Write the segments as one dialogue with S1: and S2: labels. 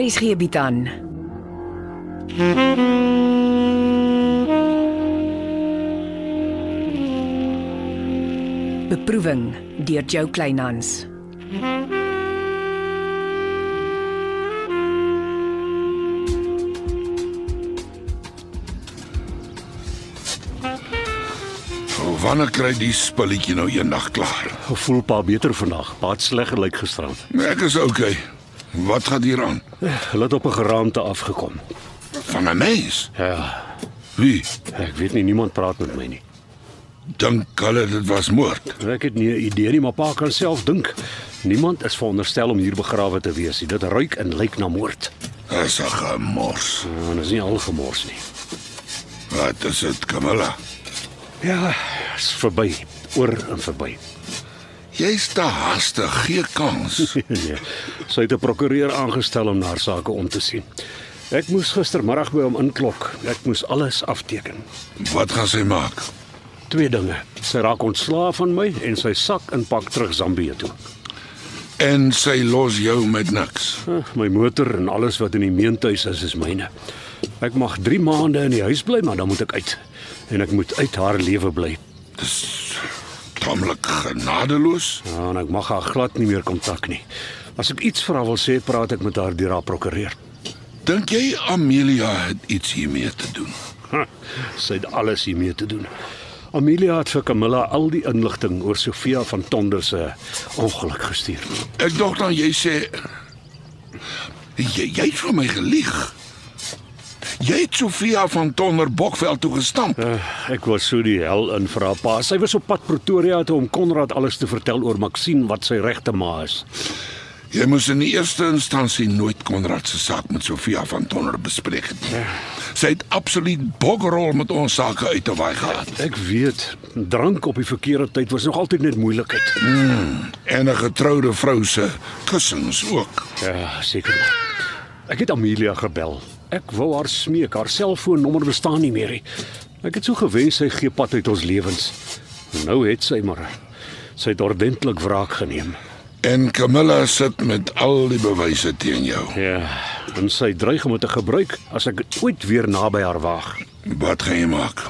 S1: RSG bied aan. Beproeving deur Jo Kleinhans.
S2: Wanneer kry die spulletjie nou eendag klaar?
S3: Gevoel pa beter vandag. Baat sleg lyk gisterand.
S2: Ek is okay. Wat gaan hier aan?
S3: Hulle het op 'n geraamte afgekom.
S2: Van 'n mens?
S3: Ja,
S2: Wie?
S3: ek weet nie niemand praat met my nie.
S2: Dink hulle dit was moord?
S3: Ek het nie 'n idee nie, maar pa kan self dink. Niemand is veronderstel om hier begrawe te wees nie. Dit ruik en lyk na moord.
S2: Dis 'n gemors.
S3: En dit is nie al gemors nie.
S2: Wat is dit, Kamala?
S3: Ja, is verby, oor en verby.
S2: Jy's te haastig, gee kans.
S3: nee, sy het 'n prokureur aangestel om na haar sake om te sien. Ek moes gistermiddag by hom inklok. Ek moes alles afteken.
S2: Wat gaan sy maak?
S3: Twee dinge. Sy raak ontslae van my en sy sak inpak terug Zambië toe.
S2: En sy los jou met niks.
S3: Eh, My motor en alles wat in die meentuis is is myne. Ek mag 3 maande in die huis bly, maar dan moet ek uit. En ek moet uit haar lewe bly.
S2: Tamelik genadeloos.
S3: Ja, en ek mag haar glad nie meer kontak nie. As ek iets vir haar wil sê, praat ek met haar deur haar prokureur.
S2: Dink jy Amelia het iets hiermee te doen?
S3: Ha, Sy het alles hiermee te doen. Amelia het vir Camilla al die inligting oor Sofia van Tonder se ongeluk gestuur.
S2: Ek dink dan jy sê jy jy het vir my gelieg. Jy het Sofia van Tonder Bokveld toe gestamp.
S3: Uh, ek was so die hel in vir haar pa. Sy was op pad Pretoria toe om Konrad alles te vertel oor Maxine wat sy regte ma is.
S2: Jy moes in die eerste instansie nooit Konrad se saak met Sofia van Tonder bespreek het nie. Sy het absoluut bogrol met ons sake uit te waai gehad.
S3: Ek weet, drank op die verkeerde tyd was nog altyd net moeilikheid.
S2: En 'n getroude vrou se kussings ook.
S3: Ja, seker. Ek het Amelia gebel. Ek wou haar smeek, haar selfoonnommer bestaan nie meer nie. Ek het so gewens sy gee pad uit ons lewens. Nou het sy maar sy het ordentlik wraak geneem.
S2: En Camilla sit met al die bewyse teen jou.
S3: Ja, en sy dreig om dit te gebruik as ek ooit weer naby haar waag.
S2: Wat gaan jy maak?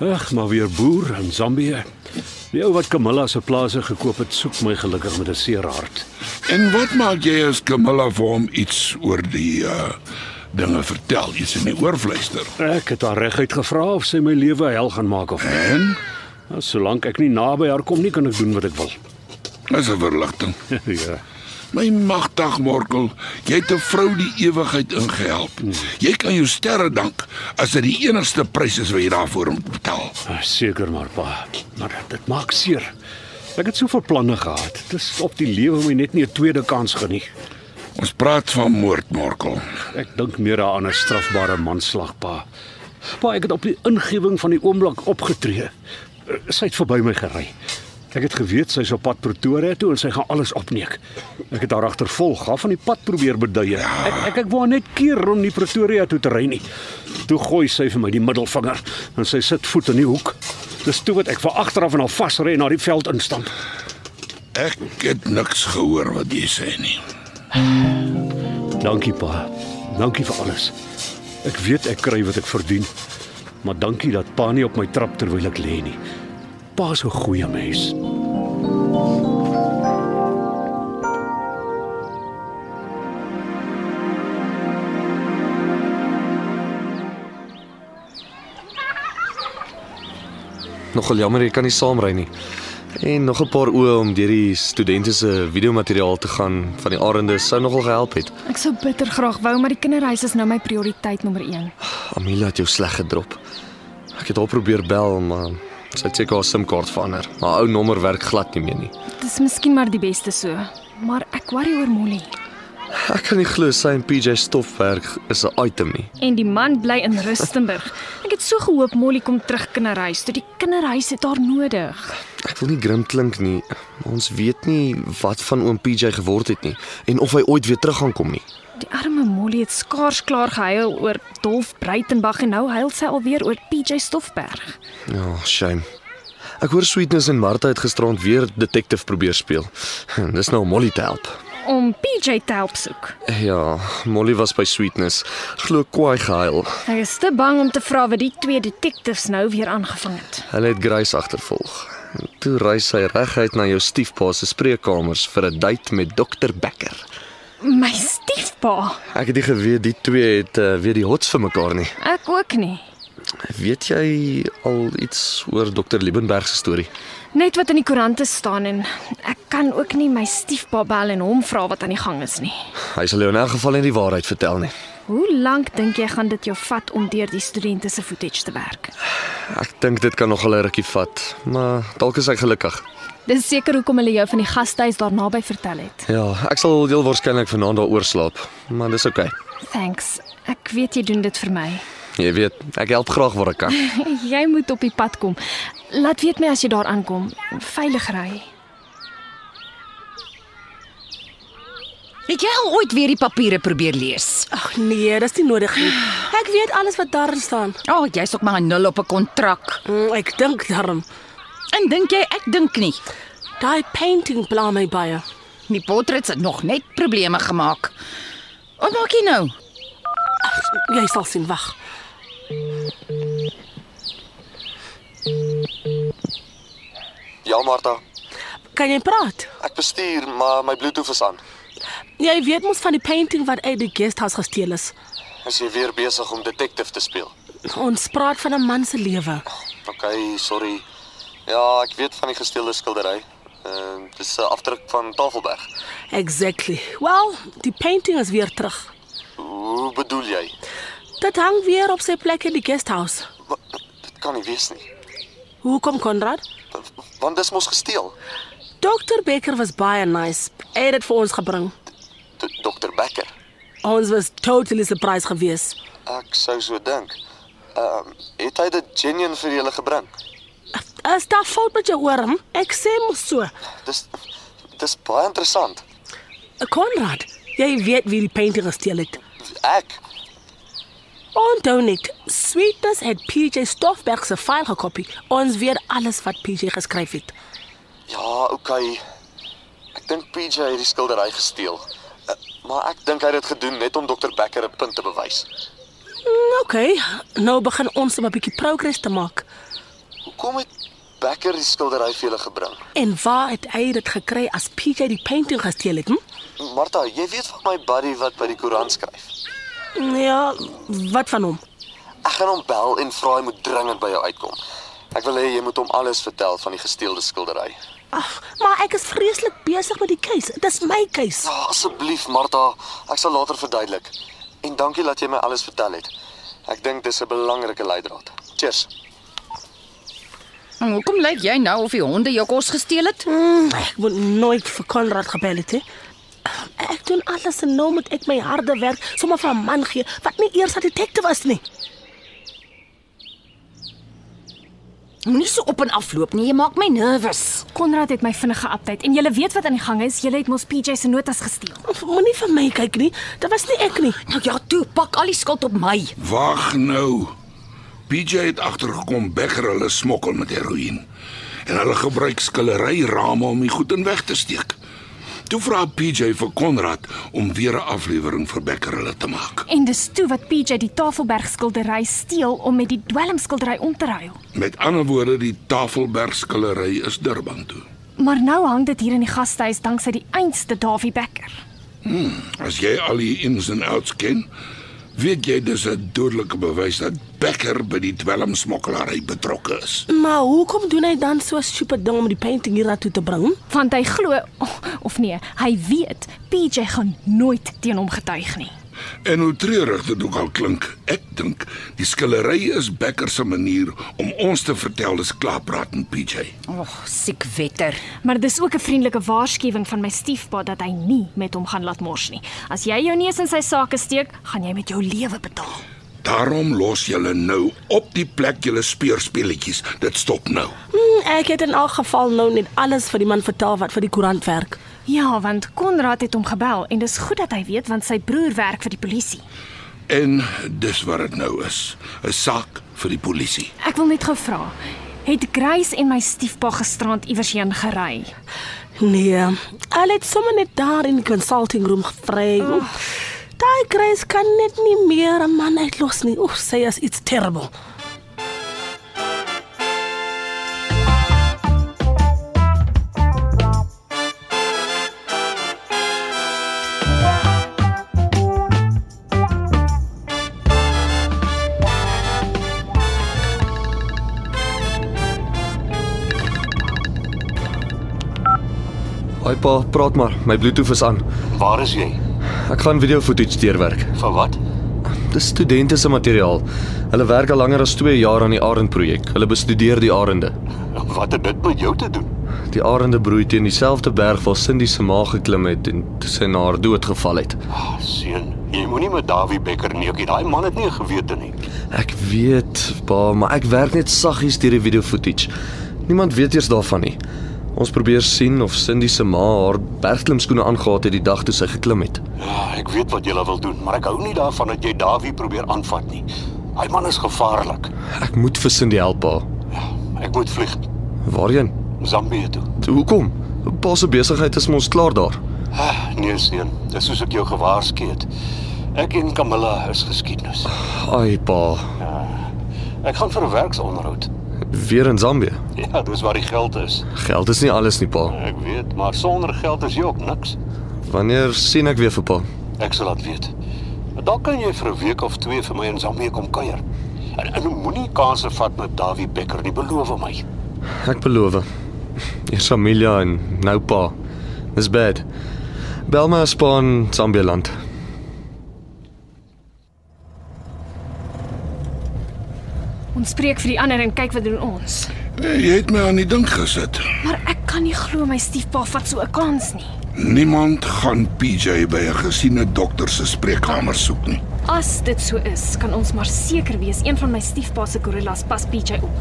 S3: Ag, maar weer boer in Zambië. Die ou wat Camilla se plase gekoop het, soek my gelukkig met 'n seer hart.
S2: En wat maak jy as Camilla vir hom iets oor die uh dinge vertel, iets in die oorfluister?
S3: Ek het haar reguit gevra of sy my lewe hel gaan maak of nie.
S2: En
S3: Nou, Solank ek nie naby haar kom nie, kan ek doen wat ek wil.
S2: dis 'n verligting.
S3: ja.
S2: My magtig Morkel, jy het 'n vrou die ewigheid ingehelp. Jy kan jou sterre dank as dit die enigste prys is wat jy daarvoor moet betaal.
S3: Seker maar, pa. Maar dit maak seer. Ek het soveel planne gehad. Dis op die lewe moet jy net nie 'n tweede kans geniet.
S2: Ons praat van moord, Morkel.
S3: Ek dink meer daaraan 'n strafbare manslag, pa. Pa, ek het op die ingewing van die oomblik opgetree. Eh, Sy het verby my gery. Ek het geweet sy's op pad Pretoria toe en sy gaan alles opneek. Ek het haar agtervolg, haar van die pad probeer beduie. Ek ek ek wou haar net keer om nie Pretoria toe te ry nie. Toe gooi sy vir my die middelvinger en sy sit voet in die hoek. Dis toe wat ek van agteraf en haar vasry en haar die veld instamp.
S2: Ek het niks gehoor wat jy sê nie.
S3: Dankie pa. Dankie vir alles. Ek weet ek kry wat ek verdien. Maar dankie dat pa nie op my trap terwyl ek lê nie. Pa's 'n goeie mens.
S4: Nogal jammer jy kan nie saamry nie. En nog 'n paar oë om deur die studente se videomateriaal te gaan van die arende sou nogal gehelp het.
S5: Ek sou bitter graag wou, maar die kinderhuis is nou my prioriteit nommer 1.
S4: Amila het jou sleg gedrop. Ek het haar probeer bel, maar sy het seker haar SIM-kaart verander. Haar ou nommer werk glad nie meer nie.
S5: Dis miskien maar die beste so, maar ek worry oor Molly.
S4: Ek kan nie glo sy en PJ Stoffwerk is 'n item nie.
S5: En die man bly in Rustenburg. Ek het so gehoop Molly kom terug kinderhuis, toe die kinderhuis het haar nodig.
S4: Ek wil nie grim klink nie, maar ons weet nie wat van oom PJ geword het nie en of hy ooit weer terug gaan kom nie.
S5: Die arme Molly het skaars klaar gehuil oor Dolf Breitenberg en nou huil sy alweer oor PJ Stoffberg.
S4: Ja, shame. Ek hoor Sweetness en Martha het gisterand weer detective probeer speel. Dis nou om Molly te help.
S5: om PJ te help soek.
S4: Ja, Molly was by Sweetness. Glo kwaai gehuil.
S5: Ek is te bang om te vra wat die twee detectives nou weer aangevang het.
S4: Hulle het Grace agtervolg. En Toe ry sy reguit na jou stiefpa se spreekkamers vir 'n date met Dr Becker.
S5: My stiefpa.
S4: Ek het nie geweet die twee het uh, weer die hots vir mekaar nie.
S5: Ek ook nie.
S4: Weet jy al iets oor Dr Liebenberg se storie?
S5: Net wat in die koerante staan en ek kan ook nie my stiefpa bel en hom vra wat aan die gang is nie.
S4: Hy sal jou in elk geval nie die waarheid vertel nie.
S5: Hoe lank dink jy gaan dit jou vat om deur die studente se footage te werk?
S4: Ek dink dit kan nog wel 'n rukkie vat, maar dalk is hy gelukkig.
S6: Dis seker hoekom hulle jou van die gastehuis daarna by vertel het.
S4: Ja, ek sal heel waarskynlik vanaand daaroor slaap, maar dis oukei. Okay.
S5: Thanks. Ek weet jy doen dit vir my.
S4: Jy weet, ek help graag waar ek kan.
S6: Jy moet op die pad kom.
S5: Laat weet my as jy daar aankom. Veilig ry.
S7: Het jy al ooit weer die papiere probeer lees?
S8: Ag nee, dis nie nodig nie. Ek weet alles wat daar staan.
S7: O, oh, jy's ook maar 'n nul op 'n kontrak.
S8: Mm, Ek dink daarom.
S7: En dink jy ek dink nie?
S8: Daai painting pla my baie.
S7: Die portrets het nog net probleme gemaak. Wat maak jy nou?
S8: Jy sal sien, wag.
S4: Ja, Martha,
S8: Kan jy praat? Ja,
S4: ek bestuur, maar my Bluetooth is aan.
S8: Jy weet mos van die painting wat uit die guesthouse gesteel is.
S4: Is jy weer besig om detective te speel?
S8: Ons praat van 'n man se lewe.
S4: Okay, sorry. Ja, ek weet van die gesteelde skildery. Ehm uh, dis 'n afdruk van Tafelberg.
S8: Exactly. Wel, die painting is weer terug.
S4: Hoe bedoel jy?
S8: Dit hang weer op sy plek in die guesthouse.
S4: Wat, dit kan nie wees nie.
S8: Hoekom Konrad?
S4: Want dis mos gesteel.
S8: Dr Becker was baie nice. Hy het dit vir ons gebring.
S4: Dr Becker.
S8: Ons was totally surprised geweest.
S4: Ek sou so dink. Ehm um, het hy dit genuen vir julle gebring?
S8: Is daar fout met jou oor hom? Ek sê mos so.
S4: Dis dis baie interessant.
S8: Konrad, jy weet wie die painting gesteel het.
S4: Ek
S8: Onthou net, Sweetness het PJ Stoffberg se file gekopie. Ons weet alles wat PJ geskryf het.
S4: Ja, okay. Ek dink PJ het die skildery gesteel. Eh, Maar ek dink hy het dit gedoen net om Dr Becker 'n punt te bewys.
S8: Mm, okay, nou begin ons om 'n bietjie progress te maak.
S4: Hoekom het Becker die skildery vir julle gebring?
S8: En waar het hy dit gekry as PJ die painting gesteel het? Hm?
S4: Martha, jy weet van my buddy wat by die koerant skryf.
S8: Ja, wat van hom?
S4: Ek gaan hom bel en vra hy moet dringend by jou uitkom. Ek wil hê jy moet hom alles vertel van die gesteelde skildery.
S8: Ag, maar ek is vreeslik besig met die keuse. Dis my keuse.
S4: Ja, asseblief Martha, ek sal later verduidelik. En dankie dat jy my alles vertel het. Ek dink dis 'n belangrike leidraad. Cheers.
S7: En hoekom lyk jy nou of die honde jou kos gesteel het?
S8: Mm, ek moet nooit vir Konrad gebel het. He. Ek doen alles en nou moet ek my harde werk sommer vir 'n man gee wat nie eers 'n detektief was nie.
S7: Moenie so op en af loop nie, jy maak my nervus.
S6: Konrad het my vinnig ge-update en jy weet wat aan die gang is. Jy het mos PJ se notas gesteel.
S8: Moenie vir my kyk nie. Dit was nie ek nie.
S7: Nou ja, toe, pak al die skuld op my.
S2: Wag nou. PJ het agtergekom Becker hulle smokkel met heroïne. En hulle gebruik skilleryrame om die goed in weg te steek. Toe vra PJ vir Konrad om weer 'n aflewering vir Becker hulle te maak
S6: En dis toe wat PJ die Tafelberg skildery steel om met die dwelmskildery om te ruil.
S2: Met ander woorde, die Tafelberg skillery is Durban toe.
S6: Maar nou hang dit hier in die gastehuis danksy die einste Davie Becker.
S2: As jy al die ins en outs ken, weet jy dis 'n dodelike bewys dat Becker by die dwelmsmokkelary betrokke is.
S8: Maar hoekom doen hy dan so 'n stupid ding om die painting hiernatoe te bring?
S6: Want hy glo oh, of nee, hy weet PJ gaan nooit teen hom getuig nie.
S2: En hoe treurig dit ook al klink, ek dink die skillery is Becker se manier om ons te vertel dis klaarpraat en PJ.
S7: Ag, oh, siek wetter.
S6: Maar dis ook 'n vriendelike waarskuwing van my stiefpa dat hy nie met hom gaan laat mors nie. As jy jou neus in sy sake steek, gaan jy met jou lewe betaal.
S2: Daarom los julle nou op die plek julle speurspelletjies. Dit stop nou.
S8: Hmm, ek het in elk geval nou net alles vir die man vertel wat vir die koerant werk.
S6: Ja, want Konrad het hom gebel en dis goed dat hy weet want sy broer werk vir die polisie.
S2: En dis wat dit nou is. 'n Saak vir die polisie.
S6: Ek wil net gou vra, het Grace en my stiefpa gisterand iewersheen gery?
S8: Nee, al het sommer net daar in die consulting room gevry. Oh. Daai Grace kan net nie meer 'n man uitlos nie. Oef, sy is iets terrible.
S4: Haai pa, praat maar. My Bluetooth is aan.
S9: Waar is jy?
S4: Ek gaan video footage deurwerk.
S9: Vir wat?
S4: Dis studente se materiaal. Hulle werk al langer as 2 jaar aan die Arend projek. Hulle bestudeer die arende.
S9: Wat het dit met jou te doen?
S4: Die arende broei teen dieselfde berg waar Cindy se ma geklim het en toe sy na haar dood geval het.
S9: Ah, seun, jy moenie met Dawie Becker neukie. Daai man het nie 'n gewete nie.
S4: Ek weet, pa, maar ek werk net saggies deur die video footage. Niemand weet eers daarvan nie. Ons probeer sien of Cindy se ma haar bergklimskoene aangehad het die dag toe sy geklim het.
S9: Ja, ek weet wat jy wil doen, maar ek hou nie daarvan dat jy Dawie probeer aanvat nie. Hy man is gevaarlik.
S4: Ek moet vir Cindy help, pa.
S9: Ek moet vlieg
S4: Waarheen?
S9: Zambië toe.
S4: Hoekom? Pa se besigheid is mos klaar daar.
S9: Ah, nee seun, dis soos ek jou gewaarsku het. Ek en Camilla is geskiedenis.
S4: Ai, pa,
S9: Ek gaan vir werksonderhoud.
S4: weer in Zambië.
S9: Ja, dis waar die geld is.
S4: Geld is nie alles nie, pa.
S9: Ek weet, maar sonder geld is jy ook niks.
S4: Wanneer sien ek weer vir pa?
S9: Ek sal laat weet. Dan kan jy vir 'n week of twee vir my in Zambië kom kuier. En, en moenie kanse vat met Dawie Becker nie, beloof my.
S4: Ek beloof. Eers Amelia en nou pa. Dis bad. Bel my as pa in Zambië land.
S6: Ons spreek vir die ander en kyk wat doen ons.
S2: Eh, Jy het my aan die dink gesit.
S6: Maar ek kan nie glo my stiefpa vat so 'n kans nie.
S2: Niemand gaan PJ by 'n gesiene dokter se spreekkamer soek nie.
S6: As dit so is, kan ons maar seker wees een van my stiefpa se gorillas pas PJ op.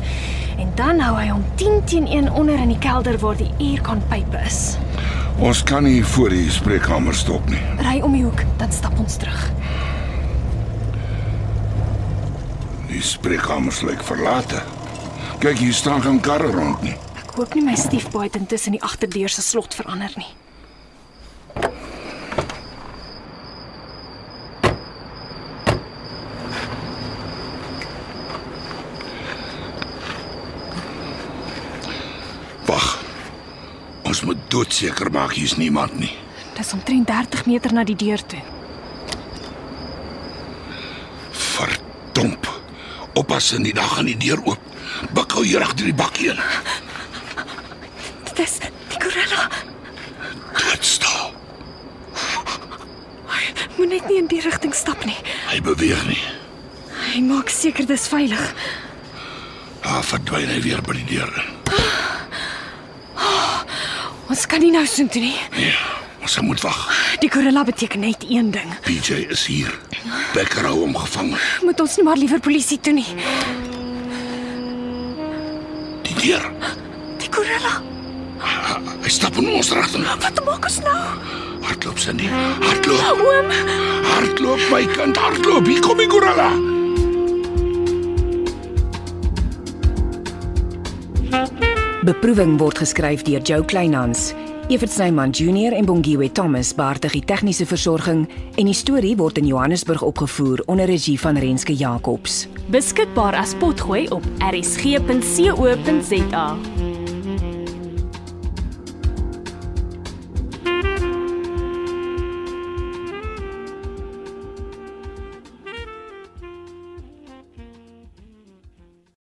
S6: En dan hou hy hom 10 teen 1 onder in die kelder waar die airconpype is.
S2: Ons kan nie voor die spreekkamer stop nie.
S6: Ry om die hoek, dan stap ons terug.
S2: Die spreekkamers lyk verlate. Kyk, hier staan geen karre rond nie.
S6: Ek hoop nie my stiefpa het intussen die agterdeur se slot verander nie.
S2: Wag. Ons moet doodseker maak hier's niemand nie.
S6: Dis omtrent 30 meter na die deur toe.
S2: Verdomp. Oppas in die dag aan die deur oop. Bak hou hier agter die bak heen.
S6: Dit is die gorilla.
S2: Doodstil.
S6: Hy moet net nie in die rigting stap nie.
S2: Hy beweeg nie.
S6: Hy maak seker dis veilig.
S2: Daar verdwyn hy weer by die deur.
S6: Ons kan nie nou soontoe nie.
S2: Nee, ons moet wag.
S6: Die gorilla beteken net een ding.
S2: PJ is hier. Becker hou hom gevang.
S6: Moet ons nie maar liewer polisie toe nie.
S2: Die deur.
S6: Die gorilla.
S2: Hy stap in ons rigting.
S6: Wat maak ons nou?
S2: Hardloop Cindy. Hardloop.
S6: Oom,
S2: Hardloop my kind, hardloop. Hier kom die gorilla.
S1: Beproeving word geskryf deur Jo Kleinhans. Evert Snyman Junior en Bongwe Thomas baartig die tegniese versorging en die storie word in Johannesburg opgevoer onder regie van Renske Jacobs.
S6: beskikbaar as potgooi op rsg.co.za.